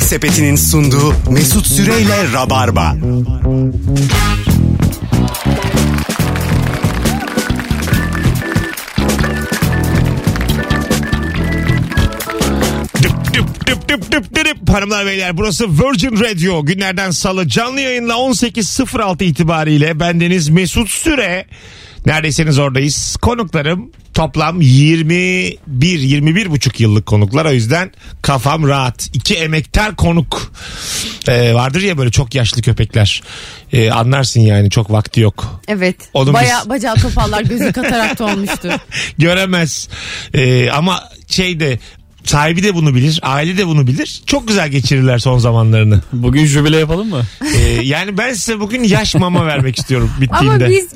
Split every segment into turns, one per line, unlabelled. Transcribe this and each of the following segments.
Sepeti'nin sunduğu Mesut Süreyle Rabarba.
Düp düp düp düp düp düp. Hanımlar beyler burası Virgin Radio. Günlerden salı canlı yayınla 18.06 itibariyle bendeniz Mesut Süre. Neredeyseniz oradayız. Konuklarım toplam 21 21,5 yıllık konuklar. O yüzden kafam rahat. İki emektar konuk. Ee, vardır ya böyle çok yaşlı köpekler. Ee, anlarsın yani çok vakti yok.
Evet.
Oğlum
Baya
biz-
bacağı topallar gözü katarakta olmuştu.
göremez. Ee, ama şey de sahibi de bunu bilir, aile de bunu bilir. Çok güzel geçirirler son zamanlarını.
Bugün jübile yapalım mı?
Ee, yani ben size bugün yaş mama vermek istiyorum
Ama
bittiğinde.
biz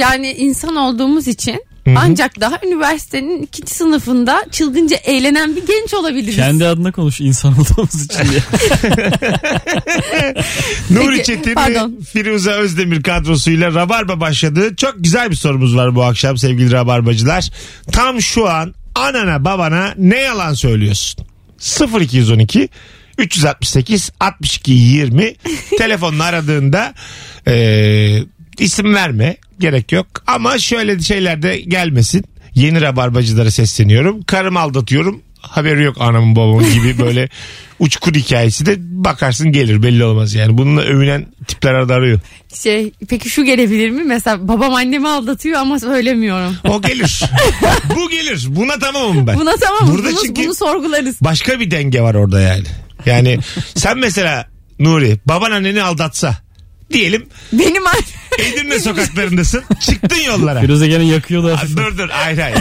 yani insan olduğumuz için ancak daha üniversitenin ikinci sınıfında çılgınca eğlenen bir genç olabiliriz.
Kendi adına konuş insan olduğumuz için diye.
Nuri
Peki,
Çetin
pardon.
ve Firuze Özdemir kadrosuyla Rabarba başladı. Çok güzel bir sorumuz var bu akşam sevgili Rabarbacılar. Tam şu an anana babana ne yalan söylüyorsun? 0212 368 62 20 telefonla aradığında e, isim verme gerek yok ama şöyle şeyler de gelmesin. Yeni rabarbacılara sesleniyorum. Karım aldatıyorum. Haberi yok anamın babamın gibi böyle uçkur hikayesi de bakarsın gelir belli olmaz yani. Bununla övünen tipler arada arıyor.
Şey peki şu gelebilir mi? Mesela babam annemi aldatıyor ama söylemiyorum.
O gelir. Bu gelir. Buna tamamım ben.
Buna tamam mı?
Burada
Bunu-
çünkü-
bunu sorgularız.
Başka bir denge var orada yani. Yani sen mesela Nuri baban anneni aldatsa diyelim
Benim an-
Edirne sokaklarındasın. Çıktın yollara.
Firuze gene yakıyor da.
Aa, Dur dur hayır hayır.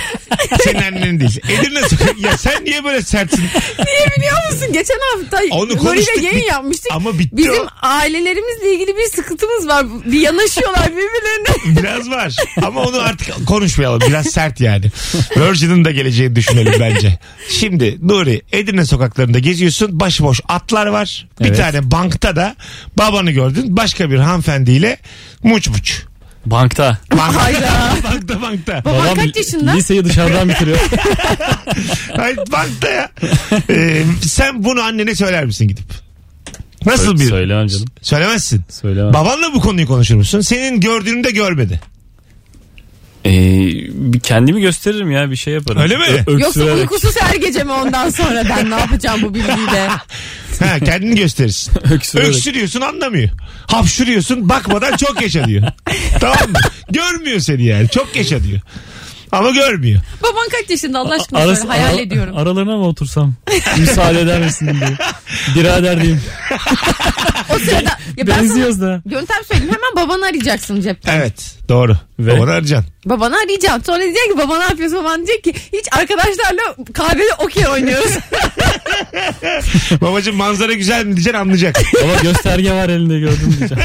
Senin annen değil. Edirne sokak. Ya sen niye böyle sertsin?
Niye biliyor musun? Geçen hafta
Onu konuştuk.
Nuri'yle yayın
Bit-
yapmıştık.
Ama bitti
Bizim
o.
ailelerimizle ilgili bir sıkıntımız var. Bir yanaşıyorlar birbirlerine.
Biraz var. Ama onu artık konuşmayalım. Biraz sert yani. Virgin'in de geleceğini düşünelim bence. Şimdi Nuri Edirne sokaklarında geziyorsun. Başıboş atlar var. Bir
Evet.
tane bankta da babanı gördün. Başka bir hanımefendiyle muç muç.
Bankta.
Bankta,
Hayda.
bankta bankta.
Baban
Babam
kaç yaşında?
Liseyi dışarıdan bitiriyor.
Hayır, bankta ya. Ee, sen bunu annene söyler misin gidip? Nasıl bir?
Söylemem canım.
Söylemezsin.
Söylemem.
Babanla bu konuyu konuşur musun? Senin gördüğünü de görmedi.
Ee, bir kendimi gösteririm ya bir şey yaparım.
Öyle mi?
Yoksa
öksürerek.
uykusuz her gece mi ondan sonra ben ne yapacağım bu bilgiyle?
Ha, kendini gösterirsin.
Öksürerek.
Öksürüyorsun anlamıyor. Hapşırıyorsun bakmadan çok yaşa diyor. tamam mı? Görmüyor seni yani. Çok yaşa diyor. Ama görmüyor.
Baban kaç yaşında Allah aşkına
Arası-
söyle, hayal
ara-
ediyorum.
Aralarına mı otursam? Müsaade eder misin diye. Birader diyeyim.
o sırada ya ben sana
Benziyoruz da.
yöntem söyleyeyim hemen babanı arayacaksın cepten.
Evet doğru.
Ve-
Babanı arayacaksın.
Babanı arayacağım. Sonra diyecek ki baba ne yapıyorsun? Baban diyecek ki hiç arkadaşlarla kahvede okey oynuyoruz.
Babacığım manzara güzel mi diyeceksin anlayacak.
Baba gösterge var elinde gördüm diyeceğim.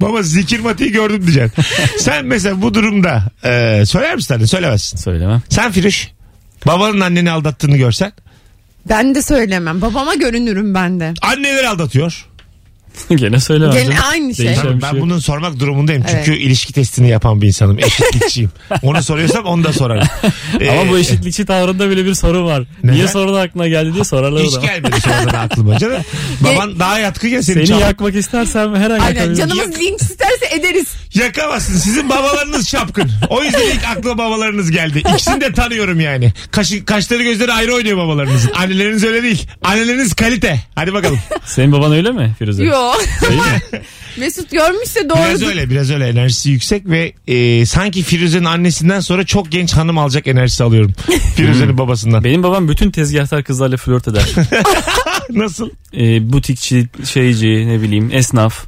Baba zikir matiği gördüm diyeceksin. Sen mesela bu durumda e, söyler misin anne? Söylemezsin.
Söylemem.
Sen Firuş babanın anneni aldattığını görsen.
ben de söylemem. Babama görünürüm ben de.
Anneler aldatıyor.
Gene söylemem.
Gene
canım.
aynı şey.
Değişen
Tabii
bir
ben
şey yok.
bunu sormak durumundayım.
Evet.
Çünkü ilişki testini yapan bir insanım. Eşitlikçiyim. Onu soruyorsam onu da sorarım. Ee,
Ama bu eşitlikçi tavrında bile bir soru var.
Neden?
Niye soru da aklına geldi diye sorarlar o
Hiç
zaman.
gelmedi sonradan aklıma canım. Baban daha yatkın ya seni,
Seni
çal-
yakmak istersem her an
Aynen
yakabilirim.
canımız linç isterse ederiz.
Yakamazsın. Sizin babalarınız çapkın. O yüzden ilk aklıma babalarınız geldi. İkisini de tanıyorum yani. Kaşı, kaşları gözleri ayrı oynuyor babalarınızın. Anneleriniz öyle değil. Anneleriniz kalite. Hadi bakalım.
Senin baban öyle mi Firuze?
Yo.
Değil mi?
Mesut görmüşse
Biraz
doğru.
öyle biraz öyle enerjisi yüksek ve e, sanki Firuze'nin annesinden sonra çok genç hanım alacak enerjisi alıyorum. Firuze'nin babasından.
Benim babam bütün tezgahtar kızlarla flört eder.
Nasıl?
Ee, butikçi, şeyci, ne bileyim esnaf.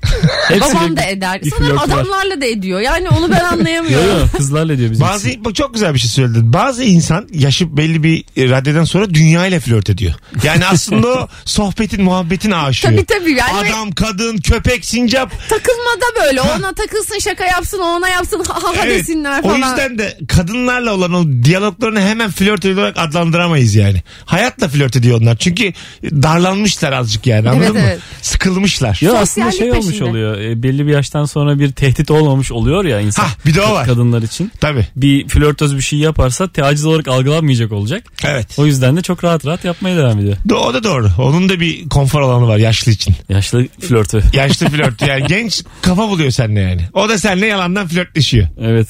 Hepsiyle
Babam da
bir-
eder.
bir
Sanırım
flört var.
adamlarla da ediyor. Yani onu ben
Yo,
anlayamıyorum.
yo, kızlarla diyor bizim.
Bazı bak çok güzel bir şey söyledin. Bazı insan yaşı belli bir e, raddeden sonra dünya ile flört ediyor. Yani aslında o sohbetin, muhabbetin aşığı.
Tabii tabii yani
Adam, kadın, köpek, sincap.
takılmada böyle ona takılsın şaka yapsın o ona yapsın ha ha ha
Evet.
desinler
O
falan.
yüzden de kadınlarla olan o diyaloglarını hemen flört olarak adlandıramayız yani. Hayatla flört ediyor onlar. Çünkü darlanmışlar azıcık yani anladın
Evet,
mı?
evet.
Sıkılmışlar.
Ya
Sosyallik
aslında şey olmuş
peşinde.
oluyor. e, belli bir yaştan sonra bir tehdit olmamış oluyor ya insan.
Hah, bir de o var.
Kadınlar için.
Tabii.
Bir flörtöz bir şey yaparsa taciz olarak algılanmayacak olacak.
Evet.
O yüzden de çok rahat rahat yapmaya devam ediyor.
Do- O da doğru. Onun da bir konfor alanı var yaşlı için.
Yaşlı flörtü.
Yaşlı flört yani genç kafa buluyor seninle yani. O da seninle yalandan flörtleşiyor.
Evet.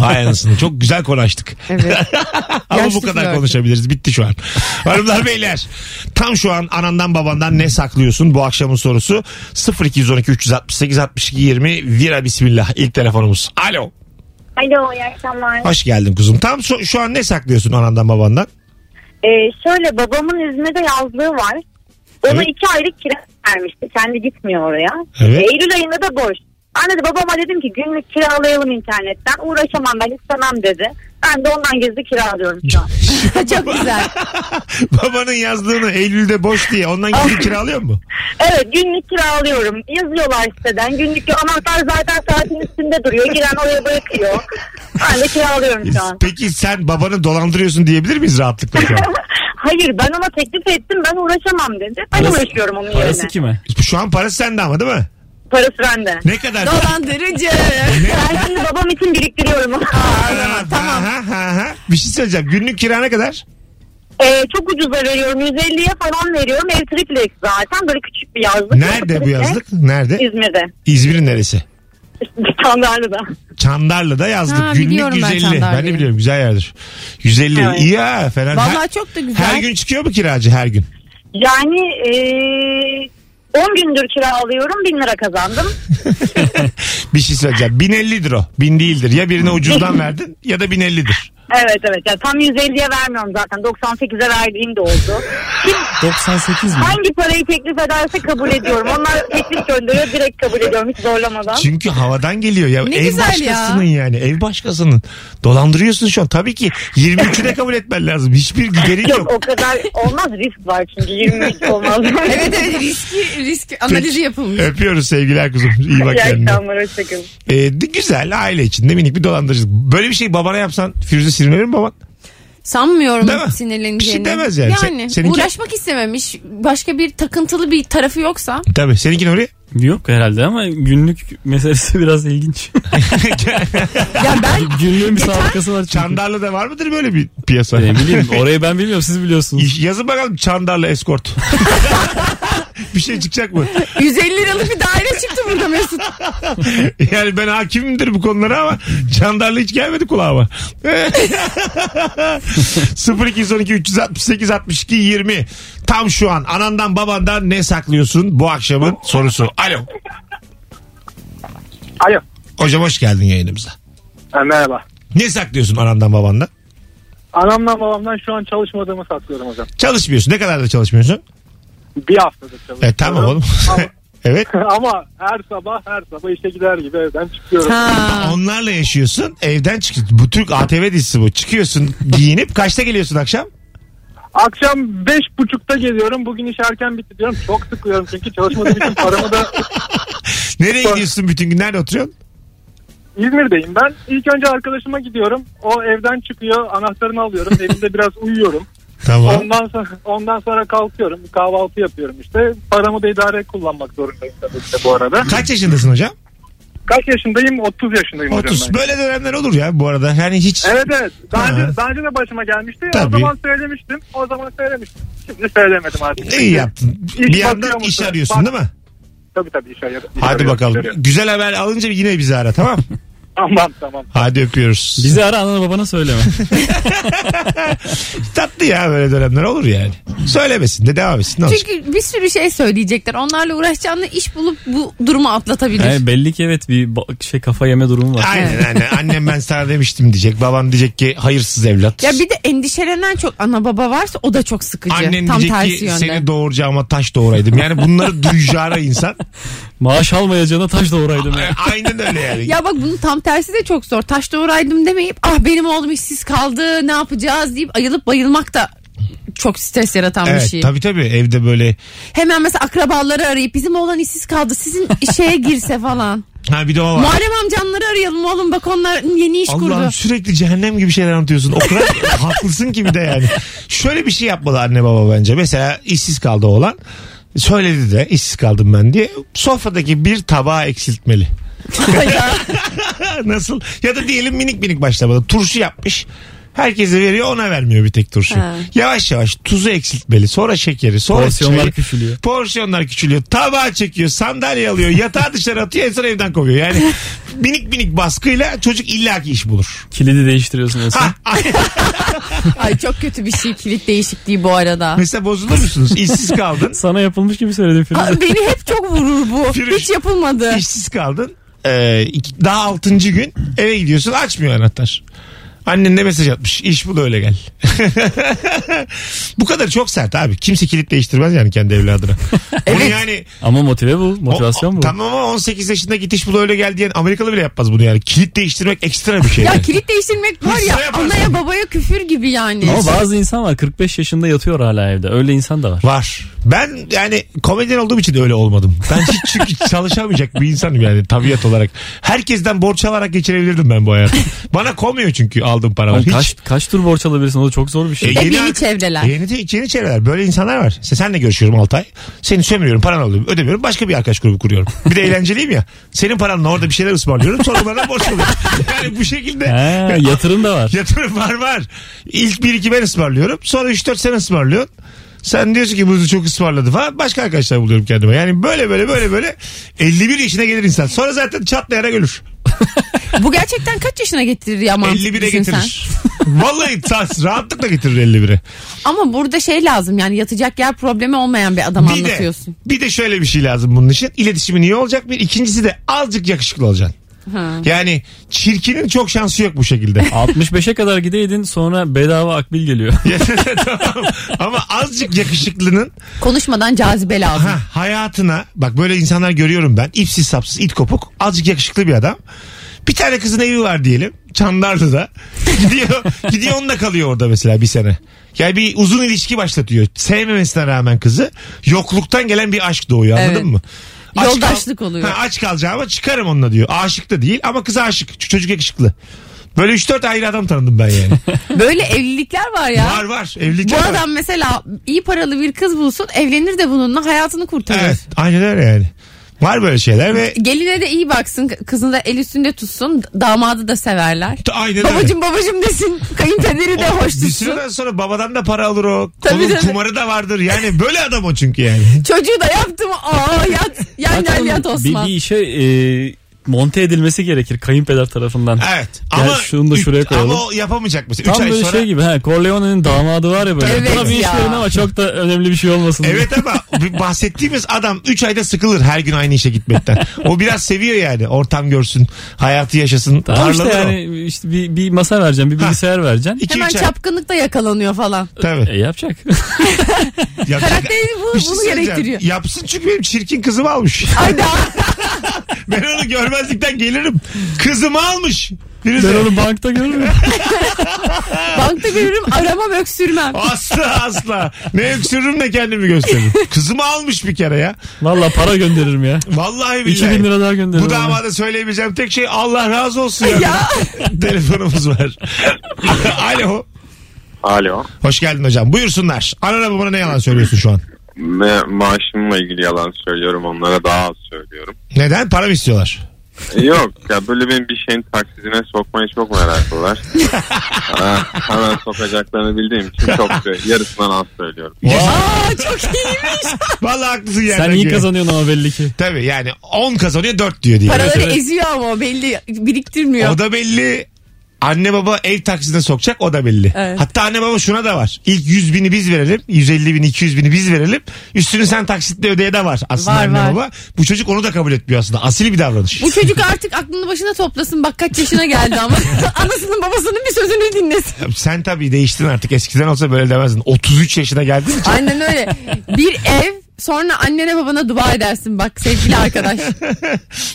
Hay anasını çok güzel konu açtık.
Evet.
Ama
Yaşlı
bu kadar
flört.
konuşabiliriz. Bitti şu an. Hanımlar beyler tam şu an anandan babandan ne saklıyorsun bu akşamın sorusu 0212 368 62 20 Vira Bismillah ilk telefonumuz. Alo.
Alo iyi akşamlar.
Hoş geldin kuzum. Tam so- şu an ne saklıyorsun anandan babandan?
Ee, şöyle babamın İzmir'de yazlığı var. Ona
Evet.
iki aylık kira vermişti. Kendi gitmiyor oraya.
Evet.
Ee, Eylül ayında da boş. Anne de babama dedim ki günlük kiralayalım internetten. Uğraşamam ben istemem dedi. Ben de ondan gizli kiralıyorum şu an.
Çok güzel.
Babanın yazdığını Eylül'de boş diye ondan gidip kiralıyor mu?
evet günlük kiralıyorum. Yazıyorlar siteden. Günlük anahtar zaten saatin üstünde duruyor. Giren oraya bırakıyor. Ben de kiralıyorum şu an.
Peki sen babanı dolandırıyorsun diyebilir miyiz rahatlıkla şu an?
Hayır ben ona teklif ettim. Ben uğraşamam dedi. Ben
Parası-
uğraşıyorum onun
Parası
yerine.
kime?
Şu an parası sende ama değil mi?
Parası bende.
Ne kadar?
Dolandırıcı.
Ben şimdi babam için biriktiriyorum.
Ha, ha, ha, ha. Bir şey söyleyeceğim. Günlük kira ne kadar?
Ee, çok ucuza veriyorum. 150'ye falan veriyorum. Ev triplex zaten. Böyle küçük bir yazlık.
Nerede bu yazlık? Nerede?
İzmir'de.
İzmir'in neresi?
Tanrı'da.
Çandarlı'da yazdık.
Ha,
Günlük
biliyorum ben
150. Ben, de
Çandarlı'yı.
biliyorum güzel yerdir. 150.
Evet.
İyi ha falan.
Vallahi
Her-
çok da güzel.
her gün çıkıyor mu kiracı her gün?
Yani ee, 10 gündür kiralıyorum. 1000 lira kazandım.
Bir şey söyleyeceğim. 1050'dir o. 1000 değildir. Ya birine ucuzdan verdin ya da 1050'dir.
Evet evet. Yani tam 150'ye vermiyorum zaten. 98'e verdiğim de oldu. Kim
98 mi?
hangi parayı teklif ederse kabul ediyorum. Onlar teklif gönderiyor. Direkt kabul ediyorum. Hiç zorlamadan.
Çünkü havadan geliyor ya.
Ne
ev
güzel
başkasının yani. Ev başkasının. Dolandırıyorsun şu an. Tabii ki 23'üne kabul etmen lazım. Hiçbir giderin
Yok
yok.
o kadar olmaz risk var çünkü 23 olmaz.
Evet evet riski risk analizi yapılmış.
Öpüyoruz sevgiler kuzum. İyi bak
İyi
kendine.
akşamlar hoşçakalın.
Ee, de- güzel aile içinde minik bir dolandırıcılık. Böyle bir şey babana yapsan Firuze sinirlenir mi baban?
Sanmıyorum
Değil mi?
sinirleneceğini.
Bir şey demez yani. Sen- seninki-
uğraşmak istememiş. Başka bir takıntılı bir tarafı yoksa.
Tabii. Seninki Nuri?
Yok herhalde ama günlük meselesi biraz ilginç.
Ya ben
Günlüğün bir sabıkası var çünkü.
Çandarlı'da var mıdır böyle bir piyasa?
Ne bileyim orayı ben bilmiyorum siz biliyorsunuz.
Yazın bakalım Çandarlı Escort. bir şey çıkacak mı?
150 liralık bir daire çıktı burada Mesut.
Yani ben hakimimdir bu konulara ama Çandarlı hiç gelmedi kulağıma. 0212 368 62 20 Tam şu an anandan babandan ne saklıyorsun bu akşamın sorusu. Alo.
Alo.
Hocam hoş geldin yayınımıza.
Ha, merhaba.
Ne saklıyorsun anandan babandan?
Anamdan babamdan şu an çalışmadığımı saklıyorum hocam.
Çalışmıyorsun. Ne kadar da çalışmıyorsun?
Bir haftadır çalışıyorum.
E tamam oğlum. evet.
Ama her sabah her sabah işe gider gibi evden çıkıyorum.
Ha.
Onlarla yaşıyorsun. Evden çık. Bu Türk ATV dizisi bu. Çıkıyorsun giyinip kaçta geliyorsun akşam?
Akşam beş buçukta geliyorum. Bugün iş erken bitti diyorum. Çok sıkılıyorum çünkü çalışmadığım için paramı da
Nereye gidiyorsun bütün gün? Nerede oturuyorsun?
İzmir'deyim ben. İlk önce arkadaşıma gidiyorum. O evden çıkıyor. Anahtarını alıyorum. Evimde biraz uyuyorum.
Tamam.
Ondan sonra ondan sonra kalkıyorum. Kahvaltı yapıyorum işte. Paramı da idare kullanmak zorundayım tabii ki de bu arada.
Kaç yaşındasın hocam?
Kaç yaşındayım? 30 yaşındayım hocam
30.
ben.
Böyle dönemler olur ya bu arada. Yani hiç
Evet evet. Daha
Ha.
önce, daha önce de başıma gelmişti.
Tabii.
O zaman söylemiştim. O zaman söylemiştim. Şimdi söylemedim artık.
iyi yaptın.
İş
Bir
bakıyor
yandan
musun?
iş arıyorsun
Bak-
değil mi?
Tabii tabii iş arıyorum. İş
Hadi
arıyorum,
bakalım.
iş arıyorum.
Güzel haber alınca yine bizi ara tamam?
Tamam tamam.
Hadi öpüyoruz.
Bizi ara anana babana söyleme.
Tatlı ya böyle dönemler olur yani. Söylemesin de devam etsin. Ne olacak?
Çünkü bir sürü şey söyleyecekler. Onlarla uğraşacağını iş bulup bu durumu atlatabilir.
Yani belli ki evet bir ba- şey kafa yeme durumu var.
Aynen aynen. Annem ben sana demiştim diyecek. Babam diyecek ki hayırsız evlat.
Ya bir de endişelenen çok ana baba varsa o da çok sıkıcı.
Annen
Tam
diyecek
tersi
ki
yönde.
seni doğuracağıma taş doğuraydım. Yani bunları duyacağına insan.
Maaş almayacağına taş doğuraydım
e,
ya.
Aynen öyle yani.
Ya bak bunun tam tersi de çok zor. Taş doğuraydım demeyip ah benim oğlum işsiz kaldı ne yapacağız deyip ayılıp bayılmak da çok stres yaratan bir
Evet
şey.
tabii tabii evde böyle
Hemen mesela akrabaları arayıp bizim oğlan işsiz kaldı sizin şeye girse falan.
Ha bir de o var.
Muharrem amcanları arayalım oğlum bak onlar yeni iş kurdu.
Allah'ım sürekli cehennem gibi şeyler anlatıyorsun. O kadar haklısın ki bir de yani. Şöyle bir şey yapmalı anne baba bence. Mesela işsiz kaldı oğlan. Söyledi de işsiz kaldım ben diye. Sofradaki bir tabağı eksiltmeli. Nasıl? Ya da diyelim minik minik başlamalı. Turşu yapmış. Herkese veriyor ona vermiyor bir tek turşu.
Ha.
Yavaş yavaş tuzu eksiltmeli. Sonra şekeri. Sonra
Porsiyonlar
çayı.
küçülüyor.
Porsiyonlar küçülüyor. Tabağı çekiyor. Sandalye alıyor. Yatağı dışarı atıyor. En son evden kovuyor. Yani minik minik baskıyla çocuk illaki iş bulur.
Kilidi değiştiriyorsun mesela.
Ay çok kötü bir şey kilit değişikliği bu arada.
Mesela bozulur musunuz? İşsiz kaldın.
Sana yapılmış gibi söyledim Firuze.
Aa, beni hep çok vurur bu.
Firuş.
Hiç yapılmadı.
işsiz kaldın. Ee, iki- daha altıncı gün eve gidiyorsun açmıyor anahtar. Annen de mesaj atmış. İş bul öyle gel. Bu kadar çok sert abi. Kimse kilit değiştirmez yani kendi evladına. Bunu yani
Ama motive bu. Motivasyon
o-
bu.
Tamam ama 18 yaşında git iş bul öyle gel diyen Amerikalı bile yapmaz bunu yani. Kilit değiştirmek ekstra bir şey.
Ya
yani.
kilit değiştirmek var ya
Hırsla yaparsın.
anaya babaya küfür gibi yani.
Ama bazı insan var 45 yaşında yatıyor hala evde. Öyle insan da var.
Var. Ben yani komedyen olduğum için öyle olmadım. Ben hiç çünkü çalışamayacak bir insanım yani tabiat olarak. Herkesten borç alarak geçirebilirdim ben bu hayatı. Bana komuyor çünkü aldığım paralar.
Oğlum
Hiç.
kaç kaç tur borç alabilirsin? O da çok zor bir şey.
E,
Hep
ar-
yeni çevreler.
Yeni, de- yeni çevreler. Böyle insanlar var. Sen, senle görüşüyorum 6 ay. Seni sömürüyorum. Paran alıyorum. Ödemiyorum. Başka bir arkadaş grubu kuruyorum. Bir de eğlenceliyim ya. Senin paranla orada bir şeyler ısmarlıyorum. Sonra bana borç alıyorum. Yani bu şekilde.
He, yatırım da var.
Yatırım var var. İlk 1-2 ben ısmarlıyorum. Sonra 3-4 sen ısmarlıyorsun. Sen diyorsun ki bunu çok ısmarladı falan. Başka arkadaşlar buluyorum kendime. Yani böyle böyle böyle böyle 51 yaşına gelir insan. Sonra zaten çatlayarak ölür.
Bu gerçekten kaç yaşına getirir ya mantıklı
51'e
düşünsen?
getirir. Vallahi tas, rahatlıkla getirir 51'e.
Ama burada şey lazım yani yatacak yer problemi olmayan bir adam
Bir de,
anlatıyorsun.
bir de şöyle bir şey lazım bunun için. İletişimin iyi olacak bir. İkincisi de azıcık yakışıklı olacaksın.
Ha.
Yani çirkinin çok şansı yok bu şekilde.
65'e kadar gideydin sonra bedava akbil geliyor.
tamam. Ama azıcık yakışıklının
Konuşmadan cazibe lazım.
Ha, hayatına bak böyle insanlar görüyorum ben. İpsiz sapsız it kopuk azıcık yakışıklı bir adam. Bir tane kızın evi var diyelim. Çandarlı'da. Gidiyor, gidiyor onunla kalıyor orada mesela bir sene. Yani bir uzun ilişki başlatıyor. Sevmemesine rağmen kızı. Yokluktan gelen bir aşk doğuyor anladın
Evet.
mı? Aç kal-
Yoldaşlık oluyor.
Ha, aç kalacağıma çıkarım onunla diyor. Aşık da değil ama kız aşık. Ç- Çocuk yakışıklı. Böyle 3-4 ayrı adam tanıdım ben yani.
Böyle evlilikler var ya.
var var. Evlilik
Bu
var.
adam mesela iyi paralı bir kız bulsun evlenir de bununla hayatını kurtarır.
Evet. Aynen öyle yani. Var böyle şeyler ve
Geline de iyi baksın kızını da el üstünde tutsun damadı da severler.
aynen öyle.
Babacım babacım desin kayınpederi de hoş
Bir
tutsun.
süreden sonra babadan da para alır o.
Tabii,
Kolun
tabii.
kumarı da vardır. Yani böyle adam o çünkü yani.
Çocuğu da yaptım aa yat yan
Zaten
yan yat
bir,
Osman.
bir işe e, monte edilmesi gerekir kayınpeder tarafından.
Evet.
Gel
ama
şunu da şuraya
üç-
koyalım.
Ama o yapamayacak mesela.
Tam
Üç ay
böyle
sonra.
şey gibi. He, Corleone'nin damadı var ya böyle.
Evet
Buna bir iş
ya.
verin ama çok da önemli bir şey olmasın. diye.
Evet ama bu bahsettiğimiz adam 3 ayda sıkılır her gün aynı işe gitmekten. O biraz seviyor yani ortam görsün, hayatı yaşasın.
Tamam işte
Parlanır o.
yani işte bir, bir masa vereceksin, bir bilgisayar vereceksin.
İki,
Hemen
üç ay.
çapkınlıkta yakalanıyor falan.
Tabii.
E yapacak.
Yapacak-
Karakteri bu-
Bir şey
bunu
söyleyeceğim.
gerektiriyor.
Yapsın çünkü benim çirkin kızımı almış. ben onu görmezlikten gelirim. Kızımı almış. Birisi.
ben onu bankta görürüm.
Bankta görürüm aramam öksürmem.
Asla asla. Ne öksürürüm ne kendimi gösteririm. Kızımı almış bir kere ya.
Valla para gönderirim ya.
Vallahi
2000
billahi.
lira daha gönderirim.
Bu
ona.
davada söyleyebileceğim tek şey Allah razı olsun ya. Telefonumuz var. Alo.
Alo.
Hoş geldin hocam. Buyursunlar. Anana babana ne yalan söylüyorsun şu an?
Ne maaşımla ilgili yalan söylüyorum onlara daha az söylüyorum. E,
Neden? Para mı istiyorlar?
Yok ya böyle benim bir şeyin taksidine sokmayı çok meraklılar. Ha, hemen sokacaklarını bildiğim için çok yarısından az söylüyorum.
Aa çok iyiymiş.
Vallahi haklısın yani.
Sen iyi kazanıyorsun ama belli ki.
Tabii yani 10 kazanıyor 4 diyor diye.
Paraları
evet.
eziyor ama o belli biriktirmiyor.
O da belli. Anne baba ev taksisine sokacak o da belli.
Evet.
Hatta anne baba şuna da var. İlk 100 bini biz verelim. 150 bin 200 bini biz verelim. Üstünü sen taksitle ödeye de var aslında
Var,
anne
var.
baba. Bu çocuk onu da kabul etmiyor aslında. Asil bir davranış.
Bu çocuk artık aklını başına toplasın bak kaç yaşına geldi ama. Anasının babasının bir sözünü dinlesin.
Sen tabii değiştin artık. Eskiden olsa böyle demezdin. 33 yaşına geldin için.
Aynen öyle. Bir ev sonra annene babana dua edersin bak sevgili arkadaş.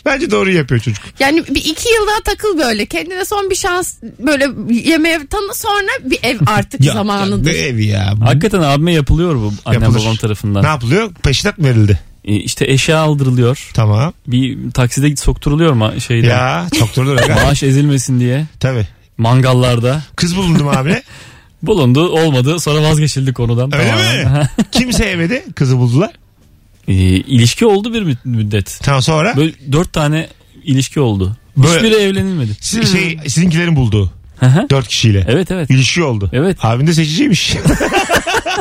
Bence doğru yapıyor çocuk.
Yani bir iki yıl daha takıl böyle. Kendine son bir şans böyle yemeğe tanı sonra bir ev artık zamanıdır.
Ne evi ya.
Hakikaten abime yapılıyor bu annem
Yapılır.
babam tarafından.
Ne yapılıyor? Peşinat mı verildi?
E, işte eşya aldırılıyor.
Tamam.
Bir takside sokturuluyor ma şeyde.
Ya çok durdur. aga.
Maaş ezilmesin diye.
Tabii.
Mangallarda.
Kız bulundum abi.
Bulundu olmadı sonra vazgeçildi konudan.
Öyle
tamamen.
mi? Kim sevmedi? Kızı buldular.
E, ilişki oldu bir mü- müddet.
Tamam sonra.
Böyle dört tane ilişki oldu.
Böyle-
Hiçbiri evlenilmedi.
Sizin, şey, sizinkilerin bulduğu.
Hı hı.
Dört kişiyle.
Hmm. evet evet.
İlişki oldu.
Evet.
Abin de seçiciymiş.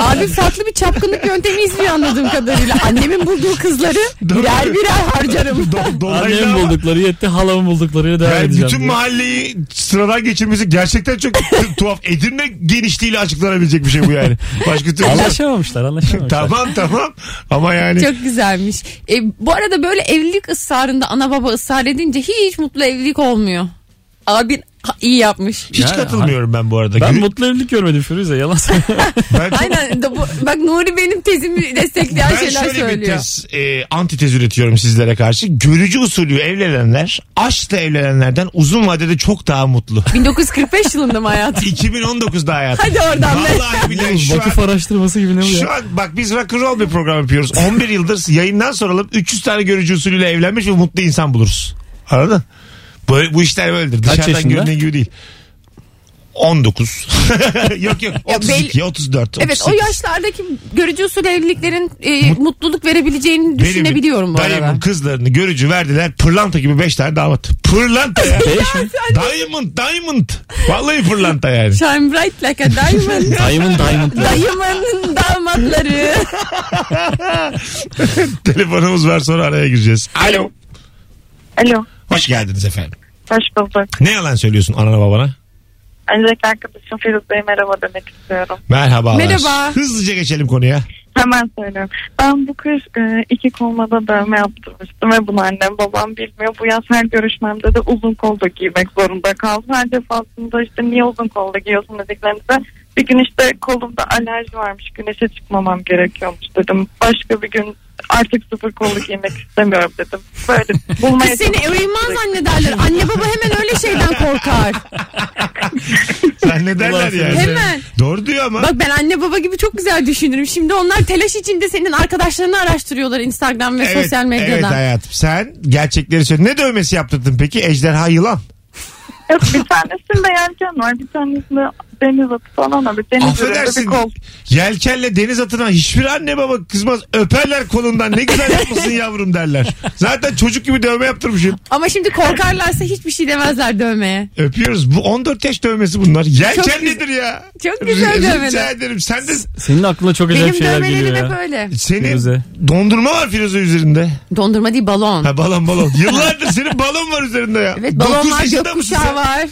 Abi farklı bir çapkınlık yöntemi izliyor anladığım kadarıyla. Annemin bulduğu kızları
Doğru.
birer birer harcarım.
Do- dolaylı
Annemin
ama-
buldukları yetti halamın bulduklarıyla devam
Yani
edeceğim.
bütün
diye.
mahalleyi sıradan geçirmesi gerçekten çok tu- tuhaf. Edirne genişliğiyle açıklanabilecek bir şey bu yani. Başka türlü.
Anlaşamamışlar anlaşamamışlar.
tamam tamam ama yani
Çok güzelmiş. E, bu arada böyle evlilik ısrarında ana baba ısrar edince hiç mutlu evlilik olmuyor. Abin ha- iyi yapmış.
hiç
Yani-
katılmıyorum ben bu arada.
Ben
Gü-
mutlu evlilik görmedim Firuze yalan söylüyorum.
ben çok-
Aynen. de bu- Bak Nuri benim tezimi destekleyen
ben
şeyler
şöyle bir
söylüyor.
tez, e, antitez üretiyorum sizlere karşı. Görücü usulü evlenenler aşkla evlenenlerden uzun vadede çok daha mutlu.
1945 yılında mı hayatım?
2019'da hayatım.
Hadi oradan be.
Vallahi billahi şu an-
Vakıf araştırması gibi ne bu
Şu
ya?
an bak biz rock'n'roll bir program yapıyoruz. 11 yıldır yayından soralım 300 tane görücü usulüyle evlenmiş ve mutlu insan buluruz. Anladın? Bu, bu işler böyledir. Dışarıdan
yaşında?
görünen gibi değil. 19. yok yok
Ya
32, 34, 38.
Evet o yaşlardaki görücü usul evliliklerin e, mutluluk verebileceğini
Benim-
düşünebiliyorum bu arada.
Dayımın kızlarını görücü verdiler. Pırlanta gibi 5 tane damat. Pırlanta ya.
Beş mi?
diamond, diamond. Vallahi pırlanta yani.
Shine bright like a diamond.
Diamond Diamond.
Dayımın damatları.
Telefonumuz var sonra araya gireceğiz. Alo.
Alo.
Hoş geldiniz efendim.
Hoş bulduk.
Ne yalan söylüyorsun anana babana?
Öncelikle arkadaşım Firuze'ye merhaba demek istiyorum.
Merhabalar.
Merhaba.
Hızlıca geçelim konuya.
Hemen söylüyorum. Ben bu kış e, iki koluma da dövme yaptırmıştım ve bunu annem babam bilmiyor. Bu yaz her görüşmemde de uzun kolda giymek zorunda kaldım. Her defasında işte niye uzun kolda giyiyorsun dediklerinde bir gün işte kolumda alerji varmış güneşe çıkmamam gerekiyormuş dedim. Başka bir gün artık sıfır kollu giymek istemiyorum dedim. Böyle bulmaya
Kız seni uyumaz zannederler. Anne baba hemen öyle şeyden korkar.
Sen ne
Ulan
derler
sen
yani?
de.
Hemen.
Doğru diyor ama.
Bak ben anne baba gibi çok güzel düşünürüm. Şimdi onlar telaş içinde senin arkadaşlarını araştırıyorlar Instagram ve
evet,
sosyal
Evet
medyadan.
hayatım sen gerçekleri söyle. Ne dövmesi yaptırdın peki? Ejderha yılan.
Yok, bir tanesinde yelken var bir tanesinde deniz atı falan var. Bir deniz ürünü bir
Affedersin.
kol.
Yelkenle deniz atına hiçbir anne baba kızmaz. Öperler kolundan. Ne güzel yapmışsın yavrum derler. Zaten çocuk gibi dövme yaptırmışsın.
Ama şimdi korkarlarsa hiçbir şey demezler dövmeye.
Öpüyoruz. Bu 14 yaş dövmesi bunlar. Yelken
Çok güzel-
nedir ya?
çok güzel
Rica
dövmeler.
ederim. Sen de
Senin aklına çok acayip
Benim
şeyler geliyor
dövmelerim
ya.
hep öyle.
senin
Firuze.
dondurma var Firuze üzerinde.
Dondurma değil balon.
Ha balon balon. Yıllardır senin balon var üzerinde ya.
Evet balon
Dokuz
var,
yaşında mısın
gökkuşağı
sen?
var,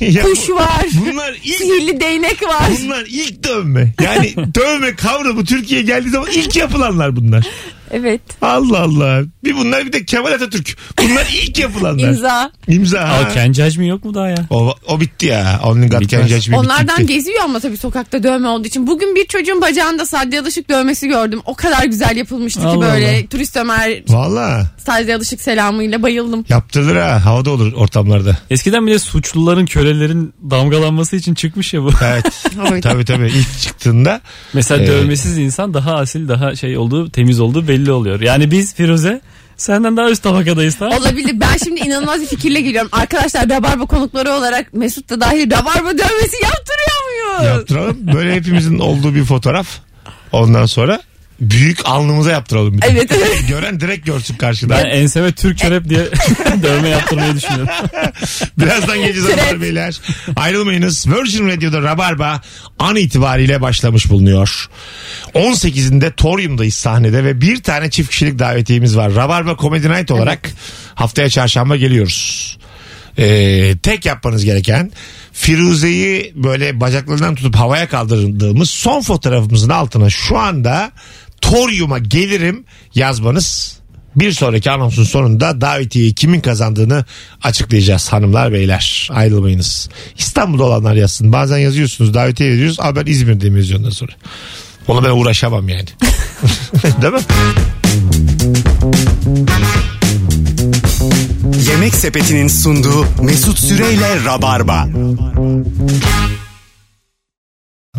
Ya bu-
kuş var,
Bunlar ilk
sihirli değnek var.
Bunlar ilk dövme. Yani dövme kavramı Türkiye'ye geldiği zaman ilk yapılanlar bunlar.
Evet.
Allah Allah. Bir bunlar bir de Kemal Atatürk. Bunlar ilk yapılanlar. İmza.
imza.
ha.
Aa, Kendi Hacmi yok mu daha ya?
O, o bitti ya. Onun got
Bitmez.
can judge me
Onlardan
bitti.
geziyor ama tabii sokakta dövme olduğu için. Bugün bir çocuğun bacağında sadya alışık dövmesi gördüm. O kadar güzel yapılmıştı ki
Allah
böyle.
Allah.
Turist Ömer
Valla
sadya alışık selamıyla bayıldım.
yaptırılır ha. Havada olur ortamlarda.
Eskiden bile suçluların kölelerin damgalanması için çıkmış ya bu.
Evet.
Evet.
tabii tabii. İlk çıktığında
Mesela
Evet.
dövmesiz insan daha asil daha şey olduğu temiz olduğu belli oluyor. Yani biz Firuze senden daha üst tabakadayız tamam mı?
Olabilir. Ben şimdi inanılmaz bir fikirle geliyorum. Arkadaşlar Rabarba konukları olarak Mesut da dahil Rabarba dövmesi yaptırıyor muyuz?
yaptıralım. Böyle hepimizin olduğu bir fotoğraf. Ondan sonra büyük alnımıza yaptıralım. Bir de.
Evet, evet.
Gören direkt görsün karşıdan.
Ben enseme Türk çörep diye dövme yaptırmayı düşünüyorum.
Birazdan geleceğiz hanımlar
Evet.
beyler. Ayrılmayınız. Virgin Radio'da Rabarba an itibariyle başlamış bulunuyor. 18'inde Torium'dayız sahnede ve bir tane çift kişilik davetiyemiz var. Rabarba Comedy Night olarak haftaya çarşamba geliyoruz. Ee, tek yapmanız gereken Firuze'yi böyle bacaklarından tutup havaya kaldırdığımız son fotoğrafımızın altına şu anda Torium'a gelirim yazmanız. Bir sonraki anonsun sonunda davetiyeyi kimin kazandığını açıklayacağız hanımlar beyler. Ayrılmayınız. İstanbul'da olanlar yazsın. Bazen yazıyorsunuz davetiye veriyoruz. Aa ben İzmir'deyim yazıyor ondan sonra. Ona ben uğraşamam yani. Değil mi?
Yemek Sepeti'nin sunduğu Mesut Süreyle Rabarba.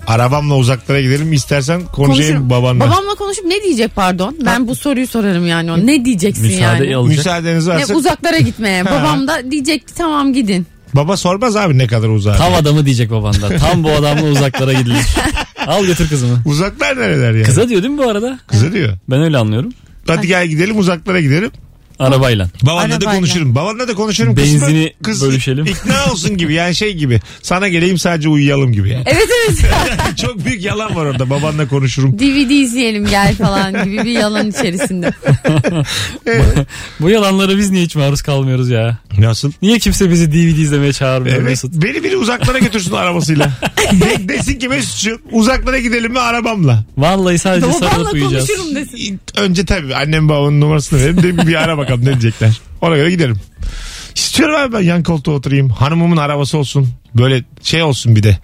Arabamla uzaklara gidelim istersen konuşayım
Konuşurum.
babanla.
Babamla konuşup ne diyecek pardon? Ben bu soruyu sorarım yani. ona. Ne diyeceksin
Müsaade
yani?
alacak.
Müsaadeniz varsa
Ne, uzaklara gitmeye.
Ha.
Babam da diyecek ki tamam gidin.
baba sormaz abi ne kadar uzağa.
Tam adamı diyecek baban da. Tam bu adamla uzaklara gidilir. Al götür kızımı.
Uzaklar nereler yani? Kıza,
Kıza diyor değil mi bu arada?
diyor.
Ben öyle anlıyorum.
Hadi gel gidelim uzaklara gidelim.
Arabayla.
Babanla da
Arabayla.
konuşurum. Babanla da konuşurum. Kız-
Benzini
kız
bölüşelim.
İkna olsun gibi yani şey gibi. Sana geleyim sadece uyuyalım gibi yani.
Evet evet.
Çok büyük yalan var orada babanla konuşurum.
DVD izleyelim gel falan gibi bir yalan içerisinde.
Bu yalanlara biz niye hiç maruz kalmıyoruz ya?
Nasıl?
Niye kimse bizi DVD izlemeye çağırmıyor
Evet,
Mesut?
beni biri uzaklara götürsün arabasıyla. De- desin ki Mesut'cum uzaklara gidelim mi arabamla.
Vallahi sadece
Babamla
sarılıp uyuyacağız.
konuşurum desin.
Önce tabii annem babamın numarasını verin de bir ara bakalım ne diyecekler. Ona göre giderim. İstiyorum abi ben yan koltuğa oturayım. Hanımımın arabası olsun. Böyle şey olsun bir de.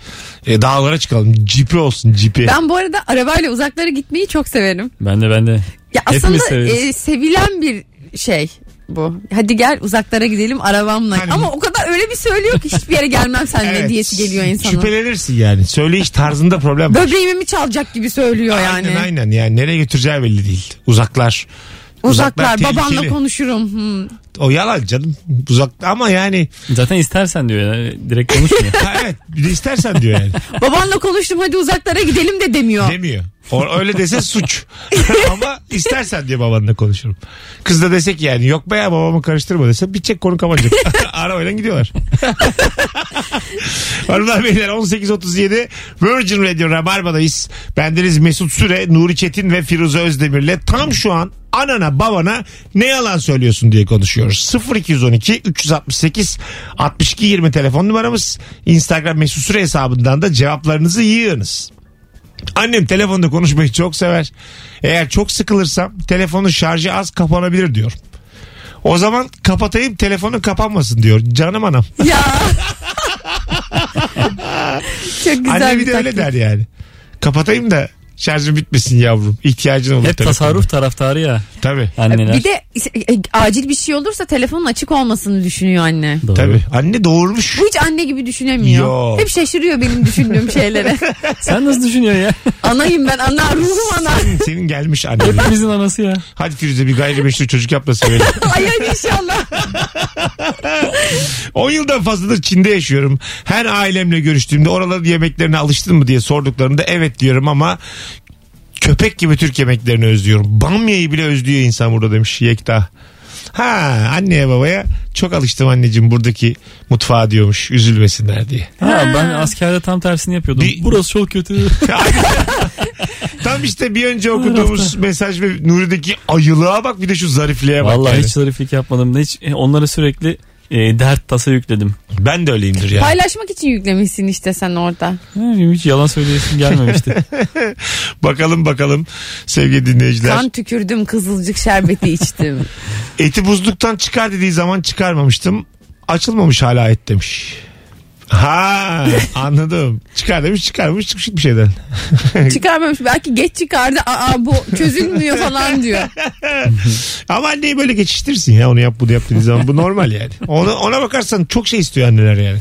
E, dağlara çıkalım. Cipi olsun cipi.
Ben bu arada arabayla uzaklara gitmeyi çok severim.
Ben de ben de.
Ya
Hepimiz
aslında
severiz.
e, sevilen bir şey bu. Hadi gel uzaklara gidelim arabamla.
Hani-
Ama o kadar öyle bir söylüyor ki hiçbir yere gelmem seninle
Evet.
diyesi geliyor insanın.
Şüphelenirsin yani. Söyleyiş tarzında problem var.
Böbreğimi mi çalacak gibi söylüyor yani.
Aynen aynen yani nereye götüreceği belli değil. Uzaklar.
Uzaklar,
Uzaklar
babanla
tehlikeli.
konuşurum. Hmm.
O yalan canım. Uzak ama yani
Zaten istersen diyor ya. Direkt konuşmuyor.
ha, evet bir de istersen diyor yani.
Babanla konuştum hadi uzaklara gidelim de demiyor.
Demiyor. O, öyle dese suç. ama istersen diye babanla konuşurum. Kız da dese ki yani yok be ya babamı karıştırma dese bitecek konu kapanacak. Arabayla gidiyorlar. Hanımlar beyler 18.37 Virgin Radio Rabarba'dayız. Bendeniz Mesut Süre, Nuri Çetin ve Firuze Özdemir'le tam şu an anana babana ne yalan söylüyorsun diye konuşuyoruz. 0212 368 62 20 telefon numaramız. Instagram Mesut Süre hesabından da cevaplarınızı yığınız. Annem telefonda konuşmayı çok sever. Eğer çok sıkılırsam telefonun şarjı az kapanabilir diyor. O zaman kapatayım telefonu kapanmasın diyor. Canım anam.
Ya. Çok güzel
Anne
bir
bir de öyle
taktik.
der yani. Kapatayım da şarjım bitmesin yavrum. İhtiyacın olur.
Hep
telefonda.
tasarruf taraftarı ya
Tabii.
anneler.
Bir de e, acil bir şey olursa telefonun açık olmasını düşünüyor anne.
Doğru.
Tabii. Anne doğurmuş.
Bu hiç anne gibi düşünemiyor.
Yok.
Hep şaşırıyor benim düşündüğüm şeylere.
Sen nasıl düşünüyorsun ya?
Anayım ben ana ruhum ana.
Senin, senin gelmiş anne.
Hepimizin anası ya.
Hadi Firuze bir gayrimeşru çocuk yap da sevelim.
Ay ay inşallah.
10 yıldan fazladır Çin'de yaşıyorum. Her ailemle görüştüğümde oraların yemeklerine alıştın mı diye sorduklarında evet diyorum ama köpek gibi Türk yemeklerini özlüyorum. Bamya'yı bile özlüyor insan burada demiş Yekta. Ha anneye babaya çok alıştım anneciğim buradaki mutfağa diyormuş üzülmesinler diye.
Ha, ben askerde tam tersini yapıyordum.
Bir-
Burası çok kötü.
Tam işte bir önce okuduğumuz mesaj ve Nuri'deki ayılığa bak bir de şu zarifliğe bak.
Vallahi
yani.
hiç zariflik yapmadım. Hiç e, onlara sürekli e, dert tasa yükledim.
Ben de öyleyimdir yani.
Paylaşmak için yüklemişsin işte sen orada.
Yani Hiç yalan söyleyesim gelmemişti.
Bakalım bakalım sevgili dinleyiciler.
Kan tükürdüm kızılcık şerbeti içtim.
Eti buzluktan çıkar dediği zaman çıkarmamıştım. Açılmamış hala et demiş. Ha anladım. Çıkar demiş çıkarmış çıkmış bir şeyden.
Çıkarmamış belki geç çıkardı. Aa bu çözülmüyor falan diyor.
Ama anneyi böyle geçiştirsin ya onu yap bunu yap dediği zaman bu normal yani. Ona, ona bakarsan çok şey istiyor anneler yani.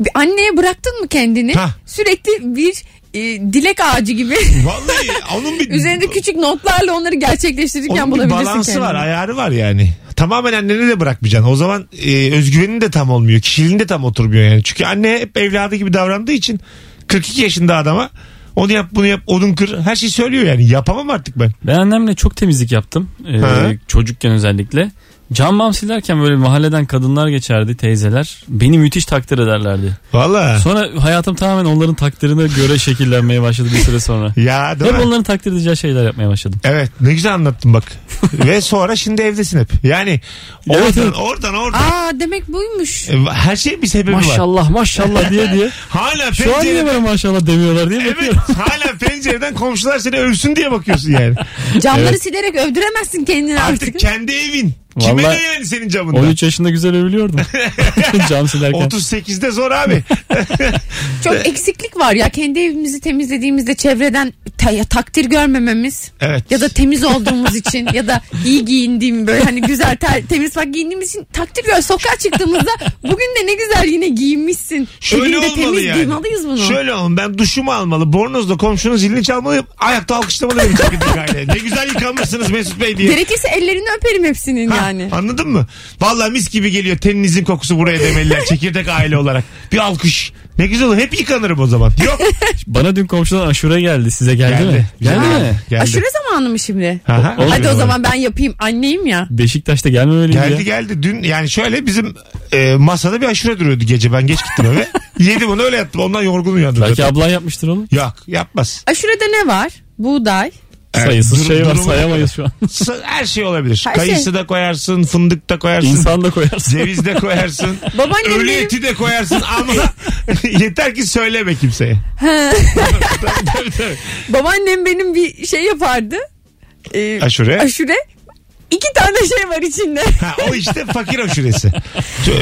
Bir Anneye bıraktın mı kendini?
Hah.
Sürekli bir e, dilek ağacı gibi
Vallahi onun bir...
üzerinde küçük notlarla onları gerçekleştirirken
Onun bir
bulabilirsin
balansı
kendini.
var ayarı var yani. Tamamen annene de bırakmayacaksın. O zaman e, özgüvenin de tam olmuyor. Kişiliğin de tam oturmuyor yani. Çünkü anne hep evladı gibi davrandığı için 42 yaşında adama onu yap bunu yap odun kır her şeyi söylüyor yani. Yapamam artık ben.
ben annemle çok temizlik yaptım. E,
Ha.
çocukken özellikle. Cam mam silerken böyle mahalleden kadınlar geçerdi teyzeler. Beni müthiş takdir ederlerdi.
Valla.
Sonra hayatım tamamen onların takdirine göre şekillenmeye başladı bir süre sonra.
Ya değil
Hep
mi?
onların takdir edeceği şeyler yapmaya başladım.
Evet ne güzel anlattın bak. Ve sonra şimdi evdesin hep. Yani
Evet,
oradan
evet.
oradan oradan.
Aa demek buymuş.
E, Her şeyin bir sebebi var.
Maşallah maşallah diye diye.
Hala
Şu an niye
pencereden,
bana maşallah demiyorlar diye
evet,
bakıyorum.
hala pencereden komşular seni övsün diye bakıyorsun yani.
Camları silerek övdüremezsin kendini artık.
Artık kendi evin. Kime
Vallahi-
ne yani senin camında?
13 yaşında güzel övülüyordum. Cam silerken.
38'de zor abi.
Çok eksiklik var ya. Kendi evimizi temizlediğimizde çevreden ta- takdir görmememiz
Evet.
ya da temiz olduğumuz için ya da iyi giyindiğim böyle hani güzel ter- temiz bak giyindiğimiz için takdir gör. Sokağa çıktığımızda bugün de ne güzel yine giyinmişsin.
Şöyle
Evinde
olmalı
temiz
yani.
duymalıyız bunu.
Şöyle olun ben duşumu almalı. Bornozla komşunun zilini çalmalıyım. Ayakta alkışlamalı benim çekirdek aile. Ne güzel yıkanmışsınız Mesut Bey diye.
Gerekirse ellerini öperim hepsinin
Ha,
yani.
Anladın mı? Vallahi mis gibi geliyor teninizin kokusu buraya demeliler çekirdek aile olarak. Bir alkış. Ne güzel olur. Hep yıkanırım o zaman. Yok.
Bana dün komşudan aşure geldi. Size geldi,
Geldi.
mi? Geldi
Geldi.
mi?
Geldi.
Aşure zamanı mı şimdi?
Aha.
Olur.
Hadi o
Olur.
zaman ben yapayım. Anneyim ya.
Beşiktaş'ta gelmemeliydi
Geldi
ya.
geldi. Dün yani şöyle bizim e, masada bir aşure duruyordu gece. Ben geç gittim eve. Yedim onu öyle yattım. Ondan yorgun uyandım.
Belki
zaten.
ablan yapmıştır oğlum.
Yok yapmaz.
Aşurede ne var? Buğday.
Sayısız
dur-
şey var
durumu-
sayamayız şu an.
Sa- Her şey olabilir.
Her şey.
Kayısı da koyarsın, fındık da koyarsın.
İnsan da koyarsın.
Ceviz de koyarsın.
Babaannem
Ölü
benim-
eti de koyarsın ama yeter ki söyleme kimseye. tabii, tabii.
Babaannem benim bir şey yapardı. Ee,
Aşure.
aşure. İki tane şey var içinde.
Ha, o işte fakir aşuresi.